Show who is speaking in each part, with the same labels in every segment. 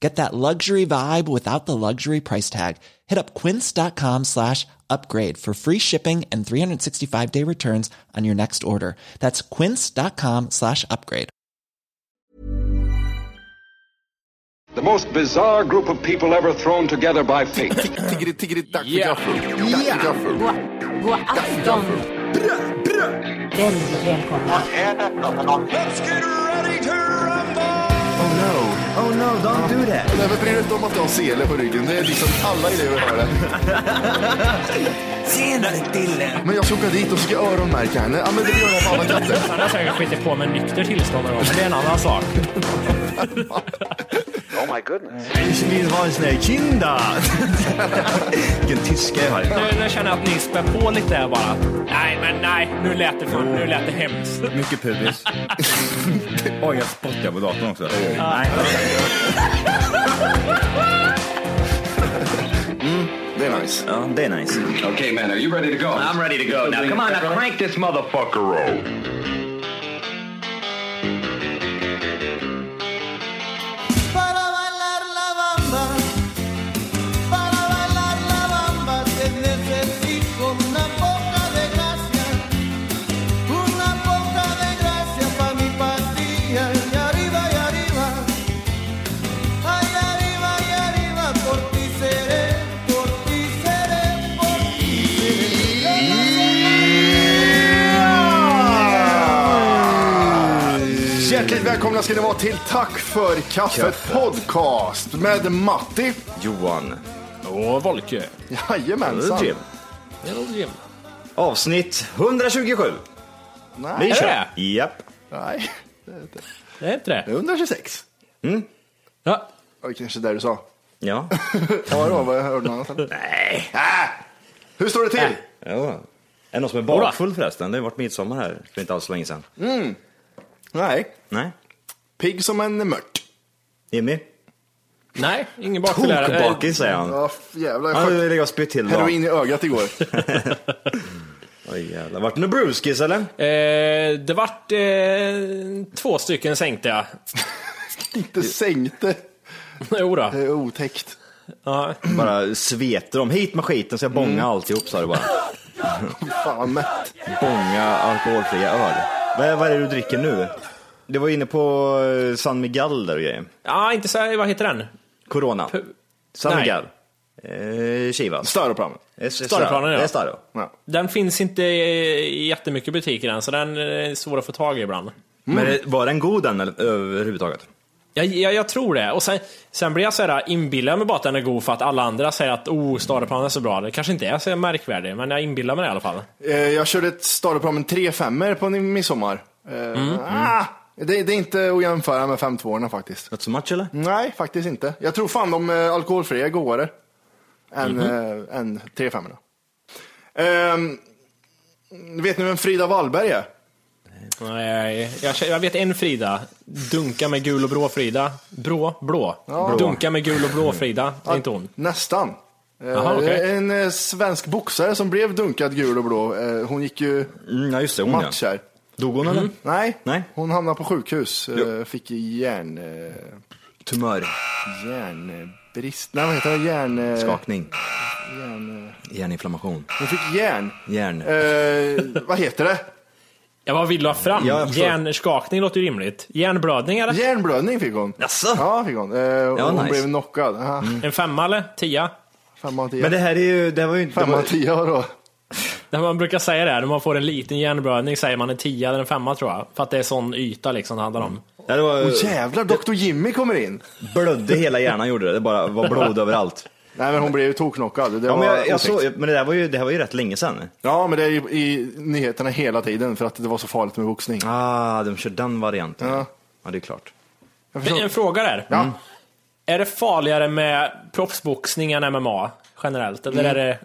Speaker 1: Get that luxury vibe without the luxury price tag. Hit up quince.com slash upgrade for free shipping and 365 day returns on your next order. That's quince.com slash upgrade.
Speaker 2: The most bizarre group of people ever thrown together by fate.
Speaker 3: Tiggeri, tiggeri, dack för
Speaker 2: Yeah.
Speaker 3: gaffel. Dack för gaffel.
Speaker 4: God, god afton! Väldigt välkomna.
Speaker 5: Oh no, oh no, don't do that.
Speaker 3: Nej, men bry dig inte om att du har sele på ryggen. Det är liksom alla elever har det.
Speaker 5: Tjenare Dille!
Speaker 3: Men jag ska åka dit och ska öronmärka henne. Ja, men det gör jag på alla katter.
Speaker 6: Han har säkert skitit på med nykter tillstånd någon gång, men det är en annan sak.
Speaker 5: Ich will ha en sån här kinda. Vilken tyska jag har.
Speaker 6: Nu, nu känner jag att ni spär på lite här bara. Nej, men nej. Nu lät det, för, nu lät det hemskt.
Speaker 5: Mycket pubis. Oj, jag spottar på datorn också.
Speaker 3: Det är nice.
Speaker 5: Ja, det är nice.
Speaker 2: okay, man, are you ready to go? I'm ready to go. Now, come on, now crank this motherfucker roll.
Speaker 3: Hjärtligt välkomna ska ni vara till Tack för kaffet podcast med Matti.
Speaker 5: Johan.
Speaker 6: Och Volke.
Speaker 3: Jajamensan.
Speaker 5: Jim. Avsnitt 127.
Speaker 3: Nej.
Speaker 5: Vi kör.
Speaker 6: det?
Speaker 5: Japp.
Speaker 3: Nej,
Speaker 6: Det är inte
Speaker 3: det
Speaker 6: det.
Speaker 3: är 126.
Speaker 6: Ja.
Speaker 3: Det var kanske det du sa.
Speaker 5: Ja.
Speaker 3: Ja, det var vad jag hörde något annat. eller?
Speaker 5: Nej.
Speaker 3: Ah! Hur står det till?
Speaker 2: Äh.
Speaker 5: Ja. Är det någon som är bakfull förresten? Det har ju varit midsommar här för inte alls så länge sedan.
Speaker 3: Nej.
Speaker 5: Nej.
Speaker 3: Pigg som en mört.
Speaker 5: Jimmy?
Speaker 6: Nej, ingen bakfull här. Eh,
Speaker 5: Tokbakis säger han.
Speaker 3: Ja, f- jävlar. Jag
Speaker 5: Han
Speaker 3: sköt
Speaker 5: ligger och spytt till då.
Speaker 3: heroin i ögat igår.
Speaker 5: Oj jävlar. Vart det några bruskis eller?
Speaker 6: Eh, det vart eh, två stycken sänkte jag.
Speaker 3: Inte sänkte.
Speaker 6: Jo då.
Speaker 3: Det är otäckt.
Speaker 6: Ja.
Speaker 5: Bara sveter dem. Hit med skiten så jag bånga alltihop sa du bara.
Speaker 3: Fan vad mätt.
Speaker 5: Bånga alkoholfria öl. Vad är, vad är det du dricker nu? Du var inne på eh, San Miguel där och grejer.
Speaker 6: ja, inte så... Vad heter den?
Speaker 5: Corona.
Speaker 6: Pu-
Speaker 5: San
Speaker 6: Nej.
Speaker 5: Miguel. Eh, Chivas.
Speaker 3: Staroplan.
Speaker 5: Eh, s-
Speaker 6: Staroplanen, ja.
Speaker 5: Det är Staro.
Speaker 3: Ja. Mm.
Speaker 6: Den finns inte i jättemycket butiker än, så den är svår att få tag i ibland.
Speaker 5: Men eh, var den god den eller, överhuvudtaget?
Speaker 6: Jag, jag, jag tror det. Och sen, sen blir jag så här, inbillar mig bara att den är god för att alla andra säger att oh, Stareplan är så bra. Det kanske inte är så märkvärdigt, men jag inbillar mig det i alla fall.
Speaker 3: Eh, Jag körde ett Staroplan med 3 5 på en midsommar. Eh,
Speaker 5: Mm.
Speaker 3: Ah, det, det är inte att jämföra med 5 2 faktiskt.
Speaker 5: Not so much eller?
Speaker 3: Nej, faktiskt inte. Jag tror fan de eh, alkoholfria är godare än,
Speaker 5: Mhm.
Speaker 3: eh, än 3 5 Vet ni vem Frida Wallberg är?
Speaker 6: Nej, jag, jag vet en Frida. Dunka med gul och brå Frida. Brå? Blå? Dunka med gul och blå Frida. Det är inte hon.
Speaker 3: Nästan. Eh,
Speaker 6: Jaha, okej.
Speaker 3: En eh, svensk boxare som blev dunkad gul och blå. Eh, Hon gick ju
Speaker 5: Mm, ja just det, hon
Speaker 3: match
Speaker 5: ja.
Speaker 3: här.
Speaker 5: Dog hon eller?
Speaker 3: Nej,
Speaker 5: Nej.
Speaker 3: hon hamnade på sjukhus. eh,
Speaker 5: Jo.
Speaker 3: Fick järn... eh,
Speaker 5: Tumör.
Speaker 3: Järnbrist. Nej, vad heter det? Järn... eh,
Speaker 5: Skakning.
Speaker 3: järn eh,
Speaker 5: Hjärninflammation.
Speaker 3: hon fick järn.
Speaker 5: Järn.
Speaker 3: Eh, vad heter det?
Speaker 6: Jag bara vill ha fram.
Speaker 5: Ja, jag förstår.
Speaker 6: Hjärnskakning låter ju rimligt. Hjärnblödning eller?
Speaker 3: Järnblödning fick hon.
Speaker 5: Jaså?
Speaker 3: Ja, fick hon. Eh, och hon
Speaker 5: nice. Mm.
Speaker 3: blev knockad. Ah,
Speaker 6: En femma eller? Tia?
Speaker 3: Femma av tio.
Speaker 5: Men det här är ju, det här var ju inte...
Speaker 3: Femma av
Speaker 5: var,
Speaker 3: tio då.
Speaker 6: När man brukar säga det, här, när man får en liten hjärnblödning säger man en tia eller en femma tror jag. För att det är sån yta liksom det handlar om.
Speaker 5: Ja, det var,
Speaker 3: Åh jävlar, Dr Jimmy kommer in.
Speaker 5: blödde hela hjärnan gjorde det. Det bara var blod överallt.
Speaker 3: Nej men hon blev ju tokknockad. Det
Speaker 5: Ja, men,
Speaker 3: var
Speaker 5: jag, jag
Speaker 3: otäckt.
Speaker 5: såg, men det, där var ju, det här var ju rätt länge sedan.
Speaker 3: ja men det är ju i nyheterna hela tiden för att det var så farligt med boxning.
Speaker 5: Ah, de kör den varianten.
Speaker 3: Ja.
Speaker 5: Ja, det är klart.
Speaker 3: Jag
Speaker 6: Men
Speaker 3: förstår.
Speaker 6: En fråga där. Mm.
Speaker 3: Ja.
Speaker 6: Är det farligare med proffsboxning än MMA generellt? Eller är
Speaker 3: Mm.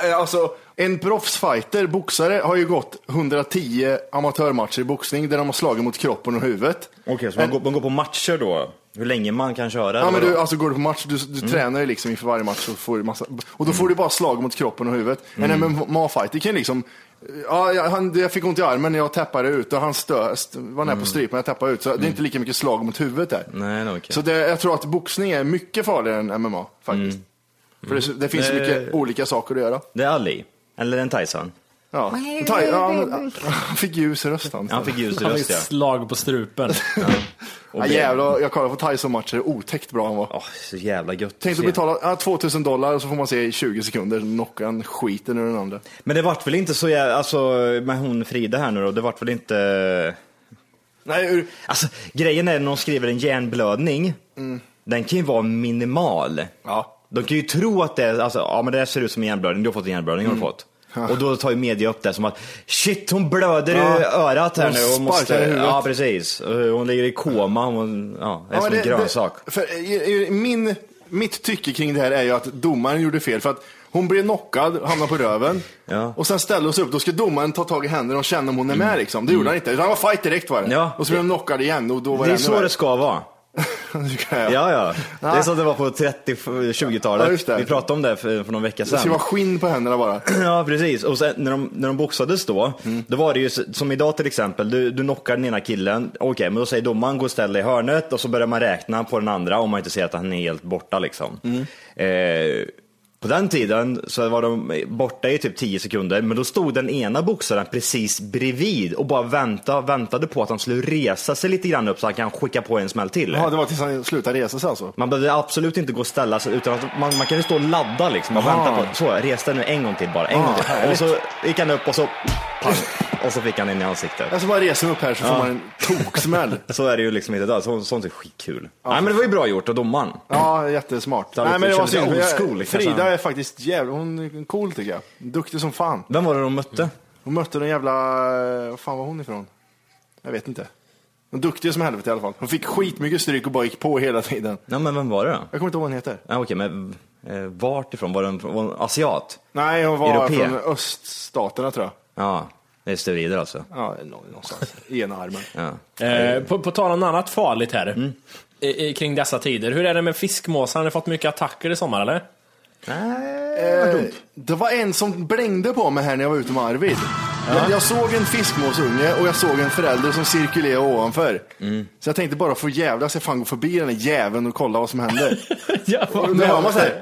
Speaker 6: det...
Speaker 3: Eh, Alltså, en proffsfighter, boxare, har ju gått 110 amatörmatcher i boxning där de har slagit mot kroppen och huvudet.
Speaker 5: Okej, så man, går, man går på matcher då? Hur länge man kan köra?
Speaker 3: Ja,
Speaker 5: eller
Speaker 3: men du,
Speaker 5: vadå? Mm.
Speaker 3: alltså, går du på match, du, du tränar ju liksom inför varje match och, får ju massa, och då får du bara slag mot kroppen och huvudet.
Speaker 5: Mm.
Speaker 3: En MMA-fighter kan ju liksom, ja, jag, han, jag fick ont i armen när jag tappade ut och han stö, st, var nära på stryp men jag tappade ut. Så det är inte lika mycket slag mot huvudet där.
Speaker 5: Mm. Nej, nej, okej.
Speaker 3: Så det, jag tror att boxning är mycket farligare än MMA faktiskt. För
Speaker 5: Mm.
Speaker 3: det, det finns så
Speaker 5: Det-
Speaker 3: mycket olika saker att göra.
Speaker 5: Det är Ali. Eller en Tyson.
Speaker 3: Ja. Ta, ja, han, han fick ljus i rösten.
Speaker 5: Han fick ljus i
Speaker 6: Han fick
Speaker 5: röst ja.
Speaker 6: slag på strupen.
Speaker 3: alltså. Ja, jävlar, jag kollade på Tyson-matcher, otäckt bra han var.
Speaker 5: Åh, så jävla gött att
Speaker 3: Tänk att
Speaker 5: se.
Speaker 3: betala ja, 2000 dollar och så får man se i 20 sekunder knocka en skiten ur den andra.
Speaker 5: Men det vart väl inte så jävla, alltså med hon Frida här nu då, det vart väl inte...
Speaker 3: Nej, ur,
Speaker 5: Alltså grejen är när de skriver en hjärnblödning, den kan ju vara minimal.
Speaker 3: ja.
Speaker 5: De kan ju tro att det är, alltså, ja men det där ser ut som en hjärnblödning, du har fått en hjärnblödning, har
Speaker 3: Mm.
Speaker 5: du fått. Och då tar ju media upp det som att shit hon blöder i
Speaker 3: Ja.
Speaker 5: örat här
Speaker 3: Hon
Speaker 5: nu och måste,
Speaker 3: sparkar i huvudet.
Speaker 5: ja precis. Eh, Hon ligger i koma, hon, ja, det är
Speaker 3: Ja,
Speaker 5: som
Speaker 3: men
Speaker 5: en grönsak.
Speaker 3: Det, för, eh, i, i, min, mitt tycke kring det här är ju att domaren gjorde fel. För att hon blev knockad, hamnade på röven.
Speaker 5: Ja. Mm.
Speaker 3: Och sen ställde hon sig upp. Då ska domaren ta tag i händerna och känna om hon är med. Liksom. Det gjorde han inte. Utan han var fight direkt var det.
Speaker 5: Ja.
Speaker 3: Och så blev hon knockad igen och då var
Speaker 5: det
Speaker 3: det
Speaker 5: är så det ska vara.
Speaker 3: ska
Speaker 5: Ja, ja. Det är
Speaker 3: Ja.
Speaker 5: så det var på 30-20-talet.
Speaker 3: Ja, just det.
Speaker 5: Vi pratade om det för, för någon vecka
Speaker 3: Det
Speaker 5: sedan.
Speaker 3: ska vara skinn på händerna bara.
Speaker 5: Ja, precis. Och sen när de, när de boxades då, då var det ju s- som idag till exempel, du, du knockar den ena killen, okej, men då säger domaren gå och ställ dig i hörnet och så börjar man räkna på den andra om man inte ser att han är helt borta liksom. Eh, på den tiden så var de borta i typ 10 sekunder, men då stod den ena boxaren precis bredvid och bara väntade, väntade på att han skulle resa sig lite grann upp så han kan skicka på en smäll till.
Speaker 3: Ja, det var tills han slutade resa sig alltså.
Speaker 5: Man behövde absolut inte gå och ställa sig utan att man, man kan ju stå och ladda liksom och
Speaker 3: Aha.
Speaker 5: vänta på Så, res dig nu en gång till bara. En
Speaker 3: Ah,
Speaker 5: gång till. Och
Speaker 3: härligt.
Speaker 5: så gick han upp och så pang, och så fick han in i ansiktet.
Speaker 3: Jag ska bara resa mig upp här så får man en toksmäll.
Speaker 5: Så är det ju liksom inte idag. Så, sånt är skitkul. Nej men det var ju bra gjort av domaren.
Speaker 3: Ja, jättesmart.
Speaker 5: Ta lite- kör lite
Speaker 3: för jag-
Speaker 5: old school, liksom.
Speaker 3: Frida är faktiskt jävla, hon är cool tycker jag. Duktig som fan.
Speaker 5: Vem var det de mötte?
Speaker 3: Hon mötte den jävla, eh, vad fan var hon ifrån? Jag vet inte. Hon duktig som helvete i alla fall. Hon fick skitmycket stryk och bara gick på hela tiden.
Speaker 5: Nej men vem var det då?
Speaker 3: Jag kommer inte ihåg vad hon heter.
Speaker 5: Ja, okej men eh, vart ifrån? Var den från- var den asiat?
Speaker 3: Nej, hon var
Speaker 5: Europé.
Speaker 3: från öststaterna tror jag.
Speaker 5: Ja, det är steroider alltså.
Speaker 3: Ja, nå- någonstans. I ena armen.
Speaker 5: Ja.
Speaker 6: Eh, på, på tal om något annat farligt här.
Speaker 3: Mm.
Speaker 6: I, i, kring dessa tider. Hur är det med fiskmåsar? Har ni fått mycket attacker i sommar eller?
Speaker 3: Eh, det var en som blängde på mig här när jag var ute med Arvid. Jag, jag såg en fiskmåsunge och jag såg en förälder som cirkulerade ovanför.
Speaker 6: Mm.
Speaker 3: Så jag tänkte bara få jävlas, jag fan gå förbi den där jäveln och kolla vad som händer.
Speaker 6: Ja,
Speaker 3: Och Då hör man såhär,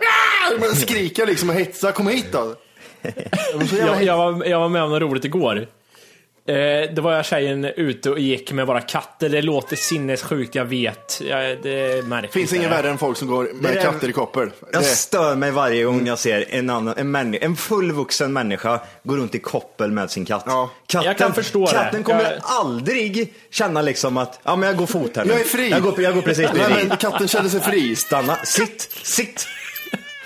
Speaker 3: man skriker liksom och hetsar, kom hit då. Jag var så jävla
Speaker 6: jag, jag, var, jag var med om något roligt igår. Eh, det var jag tjejen ute och gick med våra katter. Det låter sinnessjukt, jag vet. Jag, det märks
Speaker 3: Finns
Speaker 6: inte.
Speaker 3: inget värre än folk som går med
Speaker 5: Det är-
Speaker 3: katter i koppel.
Speaker 5: Jag
Speaker 3: Det-
Speaker 5: stör mig varje gång jag ser en, annan, en, männi- en fullvuxen människa gå runt i koppel med sin katt.
Speaker 3: Ja.
Speaker 5: Katten,
Speaker 6: Jag kan förstå det.
Speaker 5: katten kommer
Speaker 6: Jag-
Speaker 5: aldrig känna liksom att ja, men jag går fot här nu.
Speaker 3: Jag är fri.
Speaker 5: Jag går, jag går precis
Speaker 3: Nej,
Speaker 5: bredvid.
Speaker 3: men katten känner sig fri.
Speaker 5: Stanna, sitt, sitt.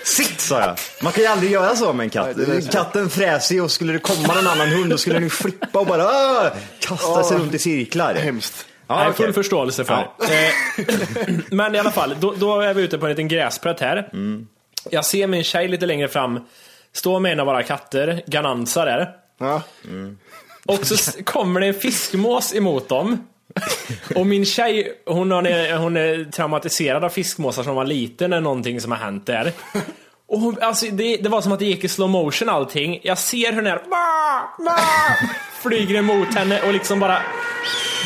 Speaker 5: Sitt sa jag. Man kan ju aldrig göra så med en katt.
Speaker 3: Nej, det är så.
Speaker 5: Katten fräser ju och skulle det komma någon annan hund då skulle den ju flippa och bara "Åh!" kasta sig runt i cirklar.
Speaker 3: Hemskt.
Speaker 5: Ja,
Speaker 6: Nej,
Speaker 5: okej.
Speaker 6: full förståelse för. Eh, Men i alla fall, då, då är vi ute på en liten gräsplätt här.
Speaker 5: Mm.
Speaker 6: Jag ser min tjej lite längre fram stå med en av våra katter, Ganansa där.
Speaker 3: Ja.
Speaker 6: Och så s- kommer det en fiskmås emot dem. Och min tjej, hon, har, hon är traumatiserad av fiskmåsar som var liten när någonting som har hänt där. Och hon, alltså, det, det var som att det gick i slow motion allting. Jag ser hur den här "Bah! Bah!" flyger emot henne och liksom bara...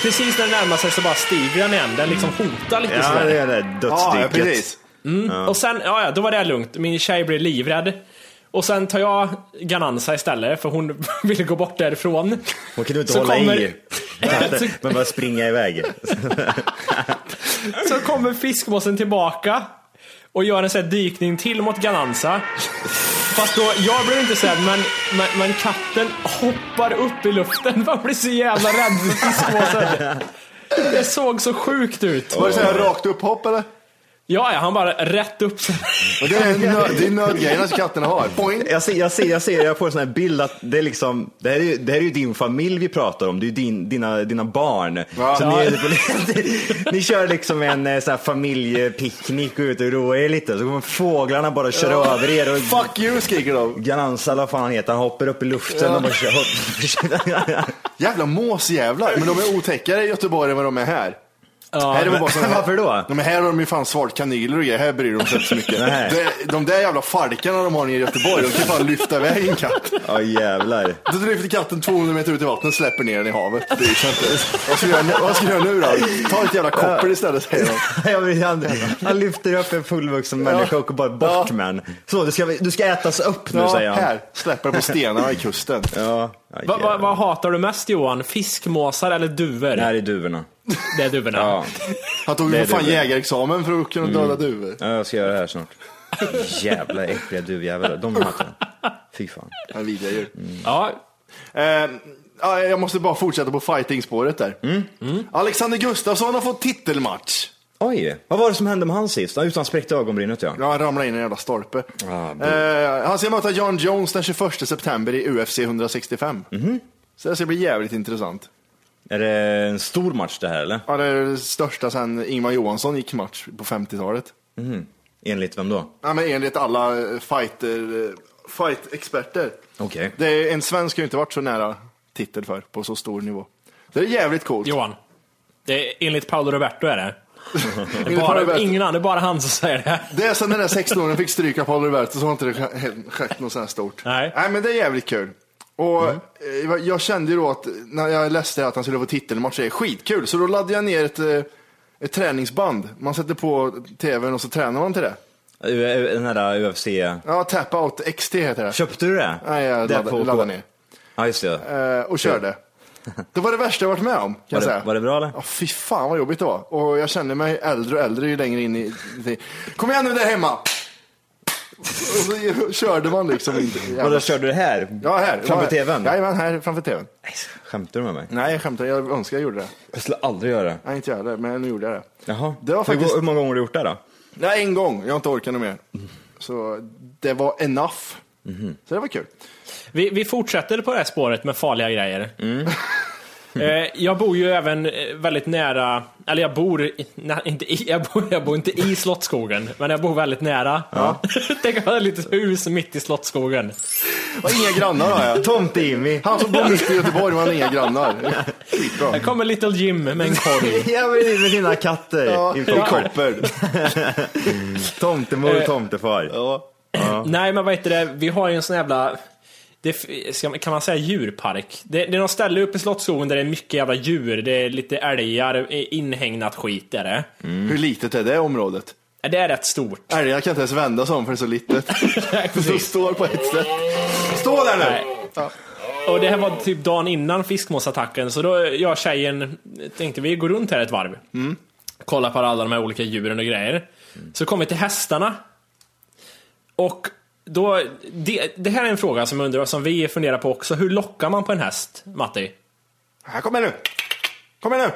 Speaker 6: Precis när den närmar sig så bara stiger den igen. Den liksom hotar lite
Speaker 5: Ja,
Speaker 6: sådär.
Speaker 5: det är det där
Speaker 3: Ja, ja,
Speaker 5: dödsdyket.
Speaker 3: precis.
Speaker 6: Och sen, ja, ja, då var det lugnt. Min tjej blev livrädd. Och sen tar jag Ganansa istället, för hon ville gå bort därifrån.
Speaker 5: Hon kunde inte
Speaker 6: Så
Speaker 5: hålla
Speaker 6: kommer-
Speaker 5: i. Katten, men bara springa iväg.
Speaker 6: Så kommer fiskmåsen tillbaka och gör en sån här dykning till mot Ganansa. Fast då, jag blev inte sedd, men, men, men katten hoppar upp i luften. Man blir så jävla rädd för fiskmåsen. Det såg så sjukt ut.
Speaker 3: Var det så här rakt upp hopp eller?
Speaker 6: Ja, ja, han bara rätt upp sig.
Speaker 3: Och det är, nö- det är nödgrejerna som katterna har. Boing.
Speaker 5: Jag ser, jag ser, jag ser, jag får en sån här bild att det är liksom, det här är ju, det här är ju din familj vi pratar om, det är ju din, dina, dina barn.
Speaker 3: Ja.
Speaker 5: Så ni, är- ni kör liksom en eh, sån här familjepicknick och ut och roar er lite, så kommer fåglarna bara köra över er och
Speaker 3: Fuck you skriker de.
Speaker 5: Ganansal, vad fan han heter, han hoppar upp i luften och bara kör upp.
Speaker 3: Jävla måsjävlar. Men de är otäckare i Göteborg än vad de är här. här är de bara såna här.
Speaker 5: Varför då?
Speaker 3: Ja, men här har de ju fan svart kanyler och grejer. Här bryr de sig inte så mycket.
Speaker 5: Nej.
Speaker 3: de, de där jävla falkarna de har nere i Göteborg, de kan fan lyfta iväg en katt.
Speaker 5: Ja jävlar.
Speaker 3: Då lyfter katten 200 meter ut i vattnet och släpper ner den i havet. Det är ju inte. Vad ska, jag, göra nu- vad ska jag göra nu då? Ta ett jävla koppel istället säger de.
Speaker 5: Jag vill, han, han lyfter upp en fullvuxen människa och bara bort
Speaker 3: Ja.
Speaker 5: med den. Så, du ska, du ska ätas upp nu säger
Speaker 3: Ja,
Speaker 5: han.
Speaker 3: här, släpper på stenarna i kusten.
Speaker 5: Ja,
Speaker 6: Vad va,
Speaker 5: jävlar.
Speaker 6: vad hatar du mest Johan? Fiskmåsar eller duvor?
Speaker 5: Det här är duvorna.
Speaker 6: Det är duvorna.
Speaker 5: Ja.
Speaker 3: Han tog
Speaker 5: Det
Speaker 3: ju
Speaker 5: är
Speaker 3: för fan
Speaker 5: det. Mm.
Speaker 3: jägarexamen för att kunna döda duvor.
Speaker 5: Ja, jag ska göra det här snart. Jävla äckliga duvjävlar, de hatar jag. Fy fan.
Speaker 3: Han vidriga djur.
Speaker 6: Ja.
Speaker 3: Eh, ja, jag måste bara fortsätta på fighting-spåret där.
Speaker 5: Mm.
Speaker 3: Mm. Alexander Gustafsson har fått titelmatch.
Speaker 5: Oj, vad var det som hände med han sist? Ja, just han spräckte ögonbrynet ja.
Speaker 3: Ja, han ramlade in i en jävla stolpe.
Speaker 5: Ah, bo.
Speaker 3: eh, han ska möta John Jones den 21 september i UFC 165.
Speaker 5: Mhm.
Speaker 3: Så det ska bli jävligt intressant.
Speaker 5: Är det en stor match det här eller?
Speaker 3: Ja, det är det största sedan Ingvar Johansson gick match på 50-talet.
Speaker 5: Enligt vem då?
Speaker 3: Ja, men enligt alla eh, fighter, eh, fight-experter.
Speaker 5: Okej.
Speaker 3: Det är, en svensk har ju inte varit så nära titel för, på så stor nivå. Det är jävligt coolt.
Speaker 6: Johan. Det är enligt Paolo Roberto är det. det är
Speaker 3: Enligt
Speaker 6: bara,
Speaker 3: Paolo Roberto.
Speaker 6: Ingen annan, det är bara han som säger det.
Speaker 3: Det är sen den där 16-åringen fick stryka Paul Roberto så har inte det sk- skett något sånt här stort.
Speaker 6: Nej.
Speaker 3: men det är jävligt kul. Och eh, Jag kände ju då att när jag läste att han skulle få titelmatch, det är skitkul. Så då laddade jag ner ett, eh, ett träningsband. Man sätter på tvn och så tränar man till det.
Speaker 5: U- Den här UFC...
Speaker 3: Ja, tap out XT heter det.
Speaker 5: Köpte du det?
Speaker 3: Nej, jag
Speaker 5: Det
Speaker 3: laddade,
Speaker 5: på-
Speaker 3: laddade ner
Speaker 5: Ja, just det.
Speaker 3: eh, och körde. Det var det värsta jag varit med om. Kan jag
Speaker 5: det-
Speaker 3: säga.
Speaker 5: var det bra, eller?
Speaker 3: Ja, fy fan vad jobbigt det var. Och jag kände mig äldre och äldre ju längre in i... i- Kom igen nu där hemma! Och så körde man liksom inte.
Speaker 5: Och då körde du det här?
Speaker 3: Ja, här.
Speaker 5: Framför
Speaker 3: ja,
Speaker 5: tvn?
Speaker 3: Jajamän, här framför tvn.
Speaker 5: Nej, Skämtar du med mig?
Speaker 3: Nej, jag skämtar. Jag önskar jag gjorde det.
Speaker 5: Jag skulle aldrig göra det.
Speaker 3: Nej, inte jag heller, men nu gjorde jag det.
Speaker 5: Jaha.
Speaker 3: Det var faktiskt...
Speaker 5: hur, hur många gånger har du gjort det då?
Speaker 3: Nej, en gång. Jag har inte orkat något mer. Så det var enough.
Speaker 5: Mhm.
Speaker 3: Så det var kul.
Speaker 6: Vi, vi fortsätter på det här spåret med farliga grejer. Eh, jag bor ju även eh, väldigt nära, eller jag bor, i- nä, inte i, jag bor, jag bor inte i Slottsskogen, men jag bor väldigt nära. Tänk att ha ett litet hus mitt i Slottsskogen.
Speaker 3: Och inga grannar har jag.
Speaker 5: Tomte-Jimmy!
Speaker 3: Han som bor mitt i Göteborg, men han har inga grannar.
Speaker 6: Här kommer Little Jim med en korg.
Speaker 5: Jag vill in med dina katter.
Speaker 3: Ja, Eh, I
Speaker 5: I en kopp.
Speaker 3: koppel.
Speaker 5: Tomtemor och tomtefar.
Speaker 6: Nej, men vad heter det, vi har ju en sån jävla, det, f- ska, man- kan man säga djurpark? Det, det är någon ställe uppe i Slottsskogen där det är mycket jävla djur, det är lite älgar, eh, inhägnat skit är det.
Speaker 3: Hur litet är det området?
Speaker 6: Det är rätt stort.
Speaker 3: Älgarna kan inte ens vända sig om för det är så litet. De står på ett sätt. Stå där
Speaker 6: Nej.
Speaker 3: nu! Ja.
Speaker 6: Och det här var typ dagen innan fiskmåsattacken, så då jag och tjejen tänkte vi går runt här ett varv. Kolla på alla de här olika djuren och grejer. Så kom vi till hästarna. Och då, det, det här är en fråga som, jag undrar, som vi funderar på också. Hur lockar man på en häst, Matti?
Speaker 3: Här, kom här nu! Kom här nu!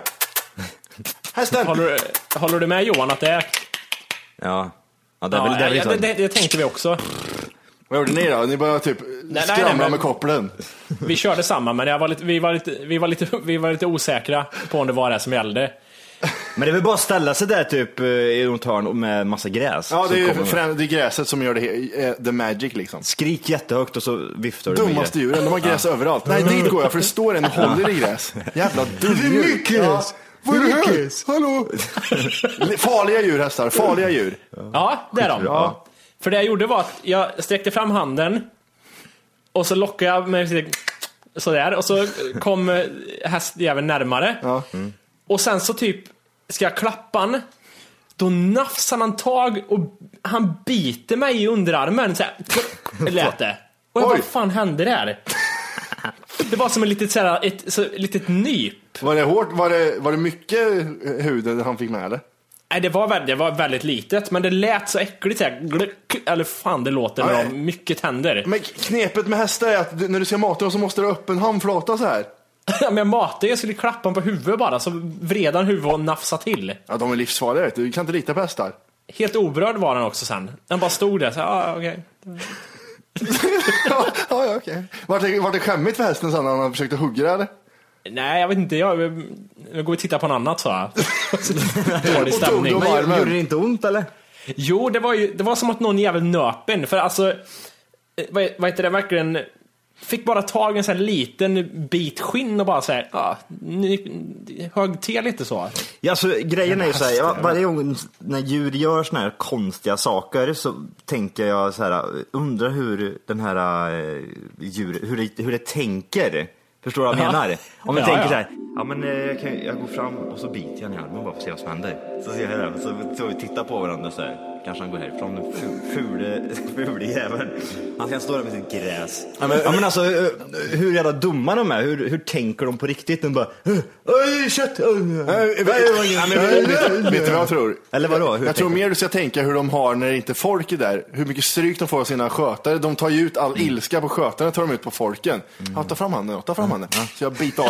Speaker 3: Hästen!
Speaker 6: Håller, du- håller du med Johan att det är...
Speaker 5: Ja. ja, det är
Speaker 6: Ja,
Speaker 5: väl, det är väl
Speaker 6: ja, det,
Speaker 5: liksom...
Speaker 6: det, det tänkte vi också.
Speaker 3: Vad gjorde ni då? Ni började typ
Speaker 6: nej,
Speaker 3: skramla
Speaker 6: men-
Speaker 3: med kopplen.
Speaker 6: Vi körde samma, men jag var lite, vi, var lite, vi, var lite, vi var lite osäkra på om det var det här som gällde.
Speaker 5: Men det är väl bara att ställa sig där typ eh, i något hörn och med massa gräs.
Speaker 3: Ja,
Speaker 5: Så
Speaker 3: det är ju
Speaker 5: kommer de.
Speaker 3: främ- det är gräset som gör det, he- eh, the magic liksom.
Speaker 5: Skrik jättehögt och så viftar du med
Speaker 3: Dummaste
Speaker 5: gräs.
Speaker 3: djuren, de har gräs överallt. Nej, dit går jag för det står en och håller i gräs. Jävla dumdjur.
Speaker 5: mycket gräs.
Speaker 3: Vad är det här?
Speaker 5: Mycket.
Speaker 3: Hallå? Farliga djur hästar, farliga djur.
Speaker 6: Ja, det är de.
Speaker 5: Ja.
Speaker 6: För det jag gjorde var att jag sträckte fram handen och så lockade jag mig sådär och så kom eh, hästjäveln närmare.
Speaker 3: Ja.
Speaker 6: Och sen så typ ska jag klappa han. Då nafsar han tag och han biter mig i underarmen. Så här, lät det. Och jag bara,
Speaker 3: Oj.
Speaker 6: vad fan hände där? Det var som en litet, så här, ett så, litet nyp.
Speaker 3: Var det hårt? Var det, var det mycket eh, hud han fick med eller?
Speaker 6: Nej, det var, väldigt, det var väldigt litet, men det lät så äckligt. Så här, gluck, eller fan, det låter när
Speaker 3: Nej.
Speaker 6: de har mycket tänder.
Speaker 3: Men knepet med hästar är att du, när du ska mata dem så måste du ha öppen handflata så här.
Speaker 6: Men jag matade jag skulle klappa honom på huvudet bara, så vred han huvudet och nafsade till.
Speaker 3: Ja, de är livsfarliga vet du. Du kan inte lita på hästar.
Speaker 6: Helt oberörd var han också sen. Han bara stod där så här, ah, okej.
Speaker 3: ja, ja, okej. Vart det, vart det skämmigt för hästen sen när han försökte hugga det eller?
Speaker 6: Nej, jag vet inte, jag, jag går och tittar på något annat sa jag. Dålig
Speaker 3: Och tog
Speaker 6: stämning.
Speaker 3: dem armen.
Speaker 5: Gjorde det inte ont eller?
Speaker 6: Jo, det var ju det var som att någon jävel nöp en. För alltså, eh, vad, vad heter det, verkligen fick bara tag i en sån här liten bit skinn och bara så här, ah, ni- högg till lite så.
Speaker 5: Ja, så grejen är ju såhär, var- varje gång när djur gör såna här konstiga saker så tänker jag så här, undrar hur den här eh, djur, hur det, hur det tänker. Förstår du vad jag
Speaker 6: Ja.
Speaker 5: menar? Om jag
Speaker 6: Ja,
Speaker 5: tänker
Speaker 6: ja.
Speaker 5: så här, ja men eh, jag, kan, jag går fram och så biter jag i armen bara för att se vad som händer. Så ser jag det, så, så vi tittar på varandra så här. Kanske han går härifrån, den fu- fule, fule jäveln. Han ska stå där med sitt gräs. Ja men, ja, men alltså eh, hur jävla dumma de är, hur, hur tänker de på riktigt? De bara, "Eh, oj kött! oj, oj."
Speaker 3: Nej, men vet- vet- Vet du vad jag tror?
Speaker 5: Eller vadå? Hur
Speaker 3: jag tror
Speaker 5: tänker
Speaker 3: mer du ska tänka hur de har när det inte är folk är där. Hur mycket stryk de får av sina skötare. De tar ju ut all
Speaker 5: Mm.
Speaker 3: ilska på skötarna, tar de ut på folken. Ja, ta fram handen, ja, ta
Speaker 5: Mm.
Speaker 3: fram handen. Så jag biter av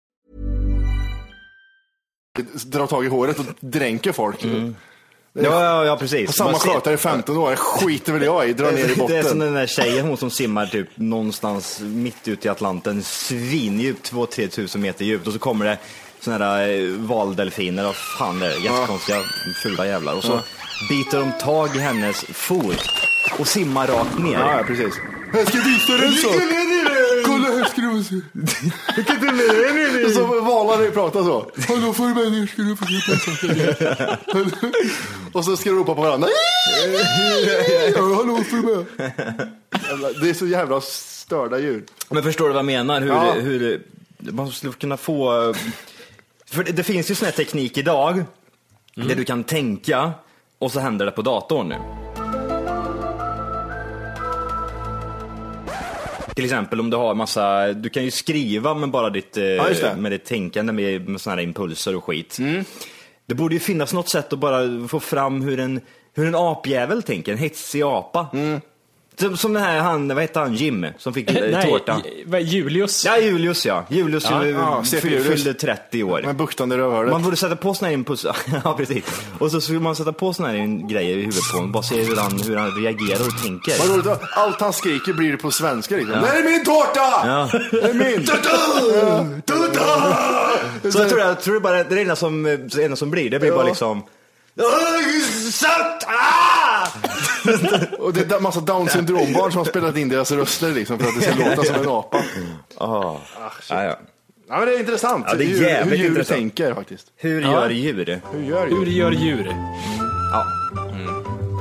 Speaker 3: drar tag i håret och dränker folk.
Speaker 5: Ja, ja, ja precis.
Speaker 3: Och samma
Speaker 5: Mm. Man ser-
Speaker 3: skötare i 15 år, skiter väl jag i, drar ner i
Speaker 5: Det är som
Speaker 3: botten.
Speaker 5: den där tjejen, hon som simmar typ någonstans mitt ute i Atlanten, svindjupt, 2-3 tusen meter djupt och så kommer det såna här eh, valdelfiner och fan det är jättekonstiga fula jävlar och så biter de tag i hennes fot och simmar rakt ner.
Speaker 3: Ja, ja, precis. Jag ska visa dig en sak. Kolla här ska du få se. Och så valar det och pratar så. Hallå för mig, nu ska du få se på en sak. Och så ska de ropa på varandra. Ja, Hallå för mig. Jävla- Det är så jävla störda djur.
Speaker 5: Men förstår du vad jag menar? Hur,
Speaker 3: Ja.
Speaker 5: hur man skulle kunna få... eh, För det, det finns ju sån här teknik idag,
Speaker 3: Mm.
Speaker 5: där du kan tänka och så händer det på datorn nu. Till exempel om du har massa, du kan ju skriva med bara ditt, eh,
Speaker 3: just det. Mm.
Speaker 5: med ditt tänkande med, med såna här impulser och skit. Det borde ju finnas något sätt att bara få fram hur en, hur en apjävel tänker, en hetsig apa.
Speaker 3: Mm.
Speaker 5: Som, som den här han, vad hette han, Jim, som fick eh, tårta.
Speaker 6: J- vad, Julius.
Speaker 5: Ja, Julius ja. Julius
Speaker 6: Ja,
Speaker 5: ju-
Speaker 3: ja,
Speaker 5: fyll-
Speaker 3: CP Julius.
Speaker 5: fyllde 30 år.
Speaker 3: Med buktande
Speaker 5: man
Speaker 3: rövhålet.
Speaker 5: borde sätta på såna här impuls... ja, precis. Och så skulle man sätta på såna här grejer i huvudet på honom. Bara se hur han, hur han reagerar och tänker.
Speaker 3: Vad roligt, allt han skriker blir det på svenska liksom. Det här är min tårta! Det är min.
Speaker 5: Så jag tror, jag tror det bara det är det enda som, det enda som blir. Det blir bara liksom... Satt! Ah!
Speaker 3: Och det är en massa down syndrombarn som har spelat in deras röster liksom för att det ska låta som en apa.
Speaker 5: Ja, ja.
Speaker 3: Ja, men det är intressant
Speaker 5: Ja, det är
Speaker 3: hur, djur- hur
Speaker 5: jävligt
Speaker 3: djur
Speaker 5: intressant.
Speaker 3: tänker faktiskt.
Speaker 5: Hur
Speaker 6: Ja.
Speaker 5: gör djur?
Speaker 3: Hur gör djur?
Speaker 6: Hur gör djur?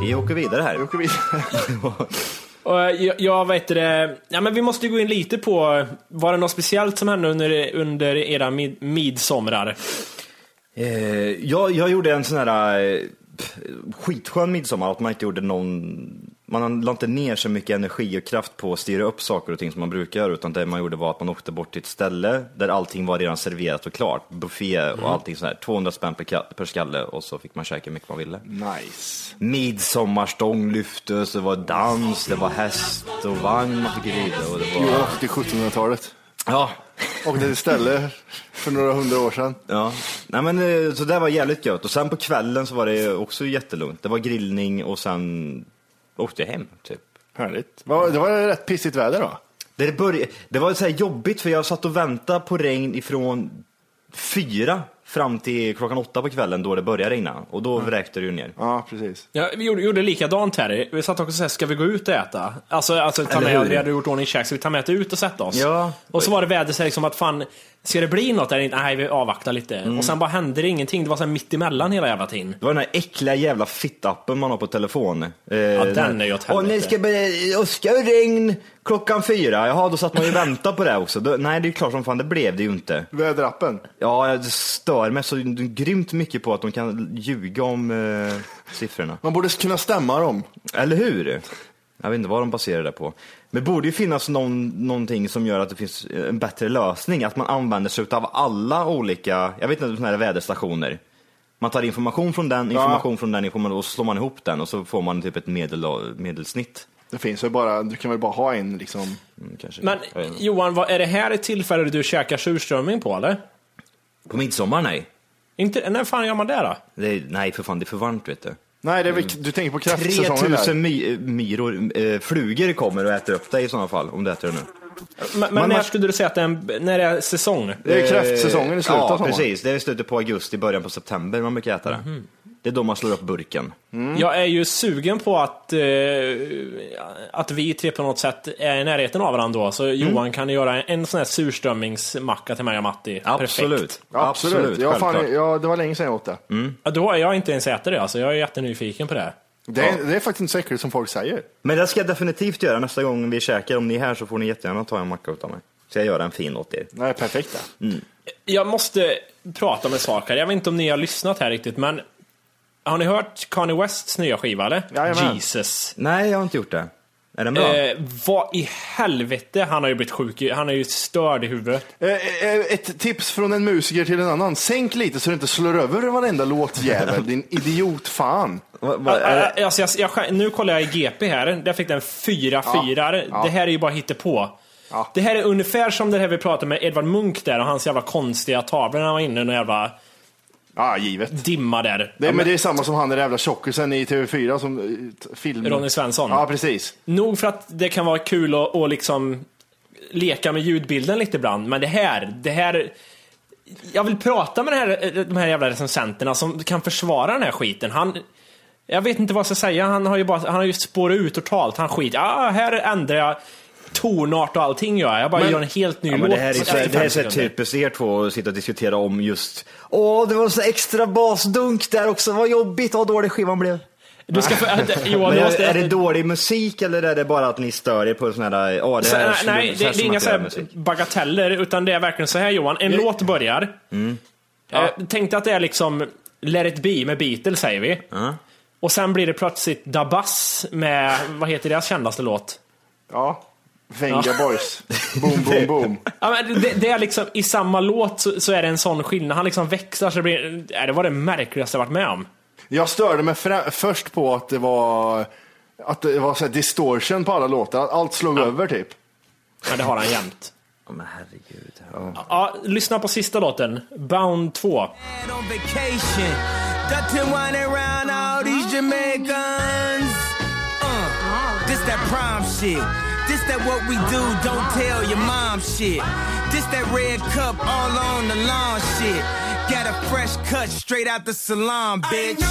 Speaker 5: Vi åker vidare här.
Speaker 3: Jag åker vidare.
Speaker 6: Och eh, jag, jag vet det, ja, men vi måste ju gå in lite på, var det något speciellt som hände under, under era mid, midsomrar?
Speaker 5: Eh, jag, jag gjorde en sån här eh, pff, skitskön midsommar, att man inte gjorde någon... Man la inte ner så mycket energi och kraft på att styra upp saker och ting som man brukar göra, utan det man gjorde var att man åkte bort till ett ställe där allting var redan serverat och klart. Buffé och allting sån här. 200 spänn per, ka- per skalle och så fick man käka hur mycket man ville.
Speaker 3: Nice.
Speaker 5: Midsommarstång lyftes, det var dans, det var häst och vagn man fick rida och det
Speaker 3: Gud,
Speaker 5: var...
Speaker 3: jag åkte till 1700-talet.
Speaker 5: Ja,
Speaker 3: Och det är istället för några hundra år sedan.
Speaker 5: Ja, Nej, men, eh, så det var jävligt gött. Och sen på kvällen så var det också jättelugnt. Det var grillning och sen åkte jag hem typ.
Speaker 3: Härligt. Vad- Det var rätt pissigt väder då.
Speaker 5: Det, börj- det var så här jobbigt för jag satt och väntade på regn ifrån fyra fram till klockan åtta på kvällen då det började regna. Och då
Speaker 6: Mm.
Speaker 5: vräkte det ju ner.
Speaker 3: Ja, precis.
Speaker 6: Ja, vi gjorde, gjorde likadant här. Vi satt också och sa, ska vi gå ut och äta? Alltså, alltså ta
Speaker 5: Eller
Speaker 6: med,
Speaker 5: hur?
Speaker 6: vi hade gjort ordning i käk, så vi tar med det ut och sätta oss.
Speaker 5: Ja.
Speaker 6: Och så var det väder så här, liksom att fan, ska det bli något eller inte? Nej, vi avvaktar lite.
Speaker 5: Mm.
Speaker 6: Och sen bara hände det ingenting. Det var så här mitt emellan hela jävla tiden.
Speaker 5: Det var den här äckliga jävla fittappen man har på telefon. Eh, ja,
Speaker 6: den är ju åt
Speaker 5: Åh,
Speaker 6: helvete."
Speaker 5: nu ska det åska och regn klockan fyra. Jaha, då satt man ju och väntade på det också. Då, nej, det är klart som fan, det blev det ju inte.
Speaker 3: Väderappen.
Speaker 5: Ja, jag stör mig så grymt mycket på att de kan ljuga om eh, siffrorna.
Speaker 3: Man borde kunna stämma dem.
Speaker 5: Eller hur? Jag vet inte vad de baserar det på. Men det borde ju finnas någon, någonting som gör att det finns en bättre lösning. Att man använder sig av alla olika, jag vet inte, sådana här väderstationer. Man tar information från den, information från den, information, och så slår man ihop den och så får man typ ett medel, medelsnitt.
Speaker 3: Det finns väl bara, du kan väl bara ha en liksom.
Speaker 5: Mm, Kanske.
Speaker 6: Men
Speaker 5: Jag vet inte.
Speaker 6: Johan, vad, är det här ett tillfälle du käkar surströmming på eller?
Speaker 5: På midsommar, nej.
Speaker 6: Inte, när fan gör man det då?
Speaker 5: Det är, nej, för fan, det är för varmt vet du.
Speaker 3: Nej, det är väl, du tänker på kräftsäsongen där.
Speaker 5: 3000 my, myror, eh, flugor kommer och äter upp dig i sådana fall, om du äter det nu.
Speaker 3: Eh,
Speaker 6: Men, men
Speaker 5: Man-
Speaker 6: när
Speaker 5: man-
Speaker 6: skulle du säga att det är, en, när det är säsong?
Speaker 3: Det är kräftsäsongen i slutet av
Speaker 5: Eh, Ja,
Speaker 3: sommaren.
Speaker 5: precis. Det är i slutet på augusti, början på september man brukar äta det.
Speaker 6: Mhm.
Speaker 5: Det är då man slår upp burken.
Speaker 3: Mm.
Speaker 6: Mm. Jag är ju sugen på att, eh, att vi tre på något sätt är i närheten av varandra då, så
Speaker 5: Mm.
Speaker 6: Johan kan göra en sån här surströmmingsmacka till mig och Matti. Perfekt.
Speaker 5: Absolut.
Speaker 3: Absolut. ja, fan,
Speaker 5: självklart.
Speaker 3: ja, det var länge sedan jag åt det.
Speaker 6: Ja, Då har jag inte ens ätit det alltså, jag är jättenyfiken på det.
Speaker 3: Det, är, det är faktiskt inte så äckligt som folk säger.
Speaker 5: Men det ska jag definitivt göra nästa gång vi käkar. Om ni är här så får ni jättegärna ta en macka utav mig. Så jag gör en fin åt er.
Speaker 3: Nej, perfekt. det.
Speaker 6: Jag måste prata med saker. jag vet inte om ni har lyssnat här riktigt, men har ni hört Kanye Wests nya skiva eller?
Speaker 3: Jajamän.
Speaker 6: Jesus.
Speaker 5: Nej, jag har inte gjort det. Är den bra?
Speaker 6: Eh, vad i helvete, han har ju blivit sjuk, i- han är ju störd i huvudet.
Speaker 3: Eh, eh, Ett tips från en musiker till en annan. Sänk lite så du inte slår över varenda låtjävel, din idiot fan.
Speaker 5: Va, va, är det?
Speaker 6: Ä- Alltså, jag, jag, skä- nu kollar jag i GP här, där fick den fyra fyrare. Det här är ju bara hittepå.
Speaker 3: Ja.
Speaker 6: Det här är ungefär som det här vi pratade med Edvard Munch där och hans jävla konstiga tavlor när han var inne i någon jävla
Speaker 3: Ja, givet.
Speaker 6: dimma där.
Speaker 3: Det, men det är samma som han den där jävla tjockisen i TV4 som eh, t- filmar.
Speaker 6: Ronny Svensson.
Speaker 3: Ja, precis.
Speaker 6: Nog för att det kan vara kul att, att liksom leka med ljudbilden lite ibland, men det här, det här... Jag vill prata med det här, de här jävla recensenterna som kan försvara den här skiten. Han, jag vet inte vad jag ska säga, han har ju, bara, han har ju spårat ut totalt. Han skit. ah, här ändrar jag tonart och allting gör jag. Jag bara gör en helt ny
Speaker 5: Ja,
Speaker 6: låt.
Speaker 5: men det här är, så,
Speaker 6: efter
Speaker 5: det här är
Speaker 6: fem
Speaker 5: så här typ-
Speaker 6: sekunder.
Speaker 5: typiskt er två att sitta och diskutera om just Åh, det var så extra basdunk där också, vad jobbigt, vad dålig skivan blev.
Speaker 6: Du ska få, Johan,
Speaker 5: Men
Speaker 6: du
Speaker 5: är,
Speaker 6: måste...
Speaker 5: är det dålig musik eller är det bara att ni stör er på en sån här, åh det
Speaker 6: Så,
Speaker 5: här
Speaker 6: nej,
Speaker 5: skulle-
Speaker 6: nej,
Speaker 5: Eh, så
Speaker 6: det,
Speaker 5: här
Speaker 6: det är
Speaker 5: skulle man
Speaker 6: inga
Speaker 5: inte
Speaker 6: så
Speaker 5: göra
Speaker 6: här
Speaker 5: musik.
Speaker 6: bagateller, utan det är verkligen så här Johan. En låt börjar.
Speaker 5: Mm.
Speaker 6: Eh, tänk dig att det är liksom Let it be med Beatles, säger vi. Och sen blir det plötsligt Dabas med, vad heter deras kändaste låt?
Speaker 3: Ja. Venga boys. Boom, boom, boom.
Speaker 6: Ja, men det, det är liksom, I samma låt så, så är det en sån skillnad. Han liksom växlar så det blir... Nej, det var det märkligaste jag varit med om.
Speaker 3: Jag störde mig frä- först på att det var, att det var så här distortion på alla låtar. Att allt slog över typ.
Speaker 6: Men det har han jämt.
Speaker 5: Ja, men herregud. Ja.
Speaker 6: Ja, lyssna på sista låten, Bound 2.
Speaker 7: on vacation. Ducking wine around all these Jamaicans. Uh, this that prom shit. This that what we do, don't tell your mom shit. This that red cup all on the lawn shit. Got a fresh cut straight out the salon, bitch.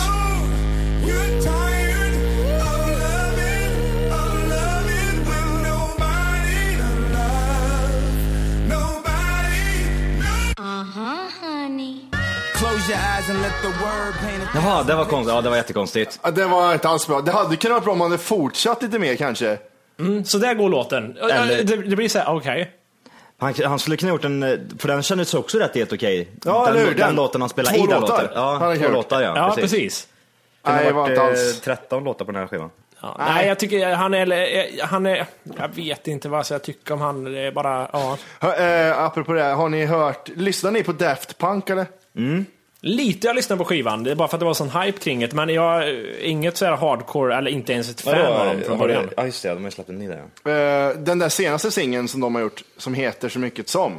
Speaker 7: Close your eyes and let the word paint a
Speaker 5: Jaha, det var konstigt. Ja, det var jättekonstigt.
Speaker 3: Ja, Det var inte alls bra. Det hade kunnat vara bra om man hade fortsatt lite mer kanske.
Speaker 6: Mm, Så där går låten.
Speaker 5: Eller-
Speaker 6: Det, det blir så här, okej.
Speaker 5: Han, han skulle kunna gjort en, eh, för den kändes också rätt helt okej.
Speaker 3: Ja,
Speaker 5: den,
Speaker 3: eller hur?
Speaker 5: den,
Speaker 3: Den-
Speaker 5: låten han spelade
Speaker 3: två
Speaker 5: i den
Speaker 3: låtar.
Speaker 5: låten. Ja,
Speaker 3: Han har
Speaker 5: två
Speaker 3: gjort.
Speaker 5: låtar ja.
Speaker 6: Ja, precis.
Speaker 5: Det
Speaker 3: Nej, det
Speaker 5: har
Speaker 3: var
Speaker 5: varit
Speaker 3: inte
Speaker 5: eh,
Speaker 3: alls.
Speaker 5: 13 låtar på den här skivan.
Speaker 6: Ja, nej. jag tycker han är, eh, han är... Jag vet inte vad jag tycker om han. Det är bara... Ja.
Speaker 3: Hör, eh, apropå det, här, har ni hört, lyssnar ni på Daft Punk eller?
Speaker 6: Lite jag lyssnar på skivan, det är bara för att det var sån hype kring det. Men jag är inget så här hardcore, eller inte ens ett fan av dem från början.
Speaker 5: Ja, just det. De har ju släppt en ny där ja.
Speaker 3: Eh, den där senaste singeln som de har gjort, som heter så mycket som.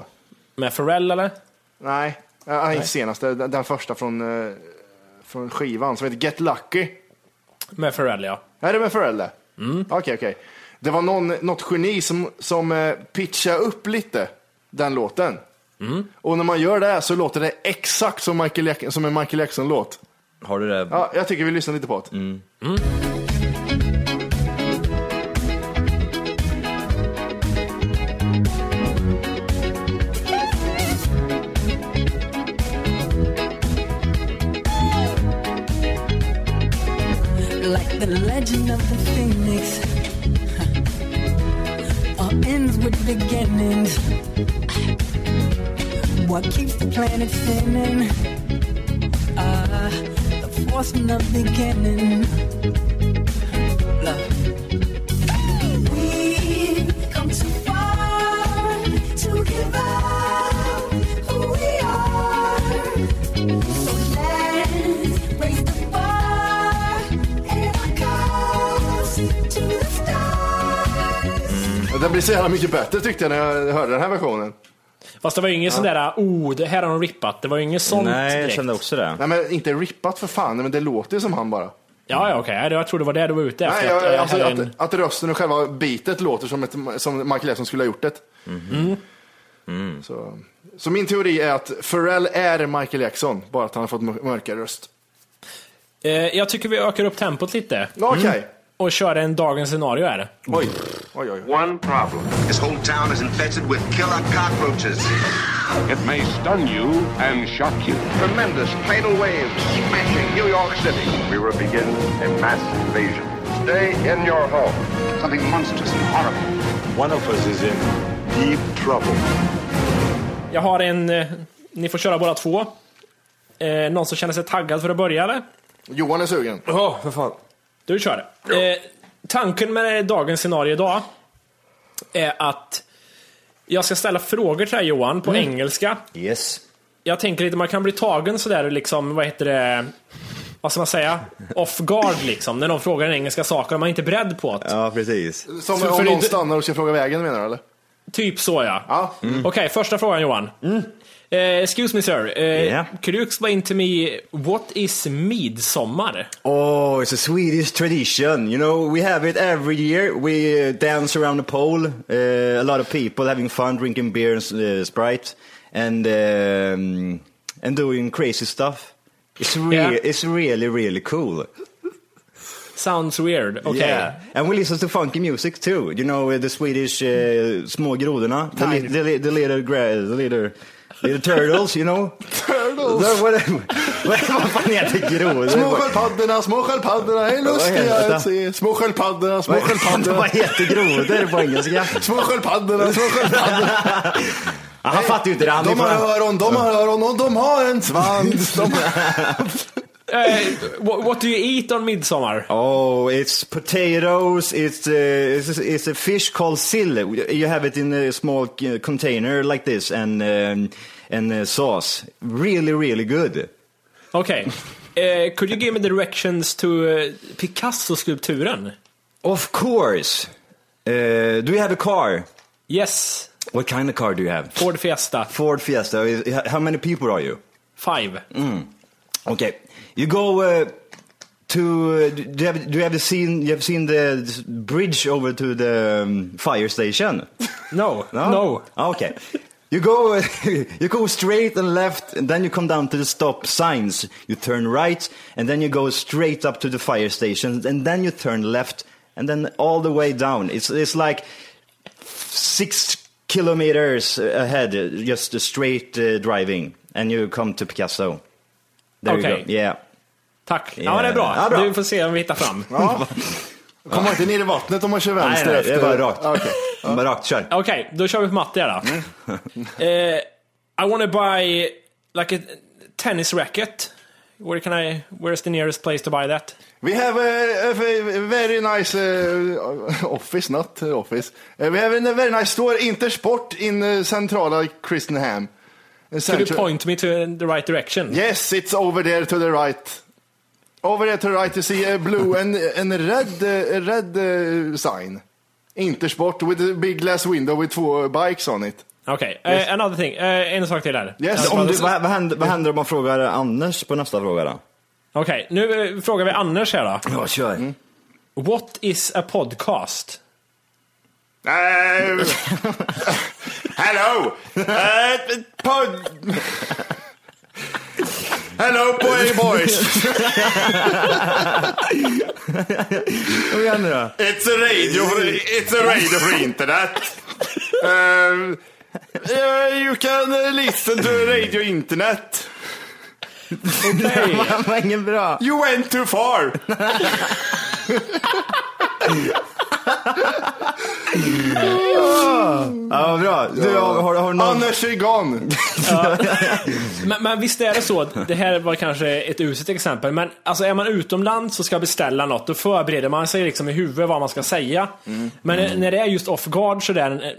Speaker 6: Med Pharrell eller?
Speaker 3: Nej, eh, inte senaste. Den den första från, eh, från skivan som heter Get Lucky.
Speaker 6: Med Pharrell ja.
Speaker 3: Är det med Pharrell det? Okej, okej. Det var någon, något geni som, som eh, pitchade upp lite den låten. Och när man gör det så låter det exakt som, Michael Jack- som en Michael Jackson-låt.
Speaker 5: Har du det?
Speaker 3: Ja, jag tycker vi lyssnar lite på det.
Speaker 8: like the legend of the phoenix. All ends with beginnings. What keeps the planet spinning? Ah, the force from the beginning. Love.
Speaker 9: We've come too far to give up who we are. So let's raise the bar and our cause to the stars.
Speaker 3: Det blir så jävla mycket bättre tyckte jag när jag hörde den här versionen.
Speaker 6: Fast det var ju ingen sån där, oh, det här har de rippat. Det var ju inget sånt direkt.
Speaker 3: också det. Nej, men inte rippat för fan, men det låter ju som han bara.
Speaker 6: Ja, ja, okej. Nej, Jag tror det var det du var ute efter.
Speaker 3: Nej, jag,
Speaker 6: att, eh,
Speaker 3: alltså,
Speaker 6: hade
Speaker 3: att,
Speaker 6: en-
Speaker 3: att rösten och själva bitet låter som, ett, som Michael Jackson skulle ha gjort det.
Speaker 5: Mm.
Speaker 3: Mm. Så, så min teori är att Pharrell är Michael Jackson, bara att han har fått mör- mörkare röst.
Speaker 6: Eh, jag tycker vi ökar upp tempot lite.
Speaker 5: Mm.
Speaker 3: Okej.
Speaker 6: Och kör en dagens scenario här.
Speaker 3: Oj. Oj, oj,
Speaker 10: One problem. This whole town is infested with killer cockroaches. It may stun you and shock you. Tremendous tidal waves smashing New York City. We will begin a mass invasion. Stay in your home. Something monstrous and horrible. One of us is in deep trouble.
Speaker 6: Jag har en... Eh, ni får köra båda två. Eh, någon som känner sig taggad för att börja eller?
Speaker 3: Johan är sugen.
Speaker 6: Ja, för fan. Du kör. Eh, tanken med dagens scenario idag är att jag ska ställa frågor till dig Johan på engelska.
Speaker 5: Yes.
Speaker 6: Jag tänker lite, man kan bli tagen sådär liksom, vad heter det? Vad ska man säga? Off guard liksom. När någon frågar en engelska sak och man är inte beredd på det.
Speaker 5: Ja, precis.
Speaker 3: Som
Speaker 6: För- för
Speaker 3: om någon
Speaker 6: det-
Speaker 3: stannar och ska fråga vägen menar du eller?
Speaker 6: Typ så ja. Okej, första frågan Johan. Eh, excuse me sir, eh, could you explain to me what is midsommar?
Speaker 5: Oh, it's a Swedish tradition. You know, we have it every year. We uh, dance around the pole. Uh, a lot of people having fun, drinking beer and uh, Sprite, and um, and doing crazy stuff. It's really,
Speaker 6: Yeah.
Speaker 5: it's really, really cool.
Speaker 6: Sounds weird. Okej.
Speaker 5: Yeah, and we listen to funky music too. You know uh, the Swedish uh, små grodorna, the, li- the, li- the little gra- the little little turtles. You know, turtles. What, what, vad fan heter grodor?
Speaker 3: Små sköldpaddorna, små sköldpaddorna, hej lustiga
Speaker 5: Vad heter
Speaker 3: att se. Små sköldpaddorna, små
Speaker 5: Vad-
Speaker 3: sköldpaddorna.
Speaker 5: Vad heter grodor på engelska?
Speaker 3: Små sköldpaddorna, små sköldpaddorna.
Speaker 5: Ja, han fattar ju inte det. Han är
Speaker 3: De har
Speaker 5: från-
Speaker 3: öron, de har öron och de har en svans. De...
Speaker 6: Eh, what, what do you eat on midsommar?
Speaker 5: Oh, it's potatoes. It's uh, it's, it's a fish called sill. You have it in a small uh, container like this, and um, and uh, sauce. Really, really good.
Speaker 6: Okej. Eh, could you give me directions to eh, Picasso-skulpturen?
Speaker 5: Of course. Uh, do you have a car?
Speaker 6: Yes.
Speaker 5: What kind of car do you have?
Speaker 6: Ford Fiesta.
Speaker 5: Ford Fiesta. Is- How many people are you?
Speaker 6: Five.
Speaker 5: Mm. Okay. You go uh, to. Uh, do you have? Do you have seen? You have seen the this bridge over to the um, fire station?
Speaker 6: No.
Speaker 5: No. Ah,
Speaker 6: No.
Speaker 5: Okay. You go. uh, you go straight and left, and then you come down to the stop signs. You turn right, and then you go straight up to the fire station, and then you turn left, and then all the way down. It's it's like six kilometers ahead, uh, just a straight uh, driving, and you come to Picasso. There
Speaker 6: Okay.
Speaker 5: you go. Yeah.
Speaker 6: Tack. Ja,
Speaker 5: Yeah.
Speaker 6: men det är bra.
Speaker 5: Ja, bra.
Speaker 6: Du får se om vi hittar fram.
Speaker 3: Ja. Kommer inte ner i vattnet om man kör
Speaker 5: Nej,
Speaker 3: vänster
Speaker 5: nej, det
Speaker 3: efter. Ah,
Speaker 5: är bara rakt.
Speaker 3: Okej.
Speaker 5: Bara rakt, kör.
Speaker 6: Okej, då kör vi på matte här då.
Speaker 5: Mm.
Speaker 6: Eh, I wanna buy like a tennis racket. Where can I, where's the nearest place to buy that?
Speaker 3: We have a, a v- very nice uh, office, not uh, office. Uh, we have a very nice store, Intersport, in uh, centrala Christenham. Uh,
Speaker 6: Could you
Speaker 3: central-
Speaker 6: point me to the right direction?
Speaker 3: Yes, it's over there to the right. Over there to the right, you see a blue and and a red uh, a red uh, sign. Intersport with a big glass window with two bikes on it.
Speaker 6: Okej, okay.
Speaker 5: Yes.
Speaker 6: another thing. Eh, en sak till här.
Speaker 5: Yes. Om du, vad, vad, händer, vad händer om man frågar Anders på nästa fråga då?
Speaker 6: Okej, nu eh, frågar vi Anders här då.
Speaker 5: Ja, kör.
Speaker 6: What is a podcast?
Speaker 3: Uh, hello! Uh, pod... Hello boy boys!
Speaker 5: Kom igen nu då.
Speaker 3: It's a radio for, it's a radio for internet! Um, uh, you can uh, listen to radio internet!
Speaker 6: Okej.
Speaker 5: Det var ingen bra.
Speaker 3: You went too far!
Speaker 5: Ja, vad bra. Du, har, har, har du någon...
Speaker 3: Anders är gone!
Speaker 6: Men, men visst är det så, att det här var kanske ett uselt exempel, men alltså är man utomlands och ska beställa något, då förbereder man sig liksom i huvudet vad man ska säga. Men när det är just off guard sådär,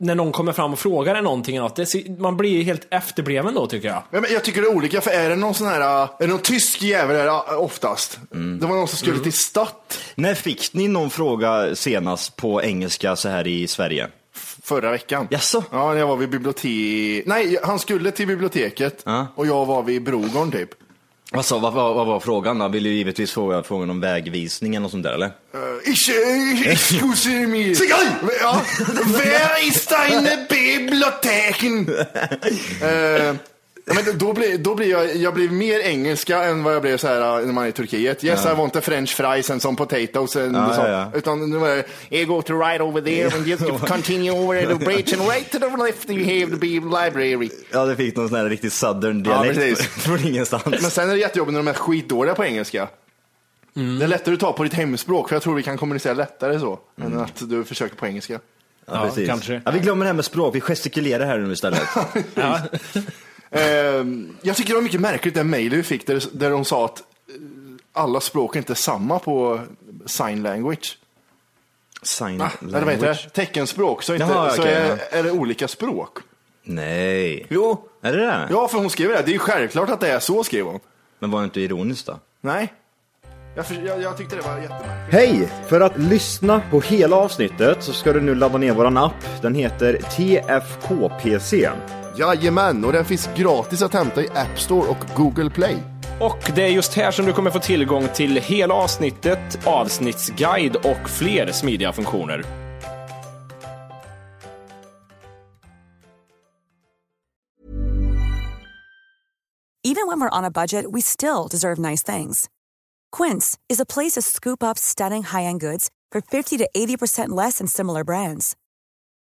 Speaker 6: när någon kommer fram och frågar en någonting, eller något, det, ser- man blir helt efterbliven då tycker jag.
Speaker 3: Ja, men jag tycker det är olika, för är det någon sån här, uh, är det någon tysk jävel är det uh, oftast? Det var någon som skulle till Statt
Speaker 5: När fick ni någon fråga senast på engelska så här i Sverige?
Speaker 3: förra veckan.
Speaker 5: Jaså?
Speaker 3: Ja, när jag var vid biblioteket. Nej, han skulle till biblioteket
Speaker 5: Ja.
Speaker 3: och jag var vid Brogården typ.
Speaker 5: Vad, sa, Alltså, vad, vad, vad var frågan då? Vill du givetvis fråga frågan om vägvisningen och sånt där eller?
Speaker 3: Uh, ich, excuse me. Ja, where is deine biblioteken? Eh, ja, men då blir, då blir jag, jag blir mer engelska än vad jag blev så här eh, när man är i Turkiet. Yes, I want the french fries and some potatoes. And
Speaker 5: Ja,
Speaker 3: så.
Speaker 5: ja, ja.
Speaker 3: Utan nu var det, you go to right over there and you continue over the bridge and right to the left you have the bib- library.
Speaker 5: Ja, det fick någon sån här riktigt southern dialekt
Speaker 3: precis.
Speaker 5: från ingenstans.
Speaker 3: Men sen är det jättejobbigt när de är skitdåliga på engelska. Det är lättare att ta på ditt hemspråk, för jag tror vi kan kommunicera lättare så, än att du försöker på engelska.
Speaker 5: Ja, precis.
Speaker 6: kanske.
Speaker 5: Ja, vi glömmer det här med språk, vi gestikulerar här nu istället.
Speaker 6: Ja.
Speaker 3: Ehm, jag tycker det var mycket märkligt det mejl vi fick där, där de sa att eh, alla språk är inte samma på sign language.
Speaker 5: Sign
Speaker 3: Eller vad heter det? Teckenspråk. Så, inte,
Speaker 5: Jaha,
Speaker 3: så
Speaker 5: okej,
Speaker 3: är,
Speaker 5: ja.
Speaker 3: är det olika språk.
Speaker 5: Nej. Jo. Är det det?
Speaker 3: Ja, för hon skrev det. Det är ju självklart att det är så, skrev hon.
Speaker 5: Men var det inte ironiskt då?
Speaker 3: Nej. Jag, för, jag, jag tyckte det var jättemärkligt.
Speaker 5: Hej! För att lyssna på hela avsnittet så ska du nu ladda ner våran app. Den heter TFKPC.
Speaker 3: Jajamän, och den finns gratis att hämta i App Store och Google Play.
Speaker 6: Och det är just här som du kommer få tillgång till hela avsnittet, avsnittsguide och fler smidiga funktioner.
Speaker 11: Even when we're on a budget, we still deserve nice things. Quince is a place to scoop up stunning high-end goods for 50 to 80% less than similar brands.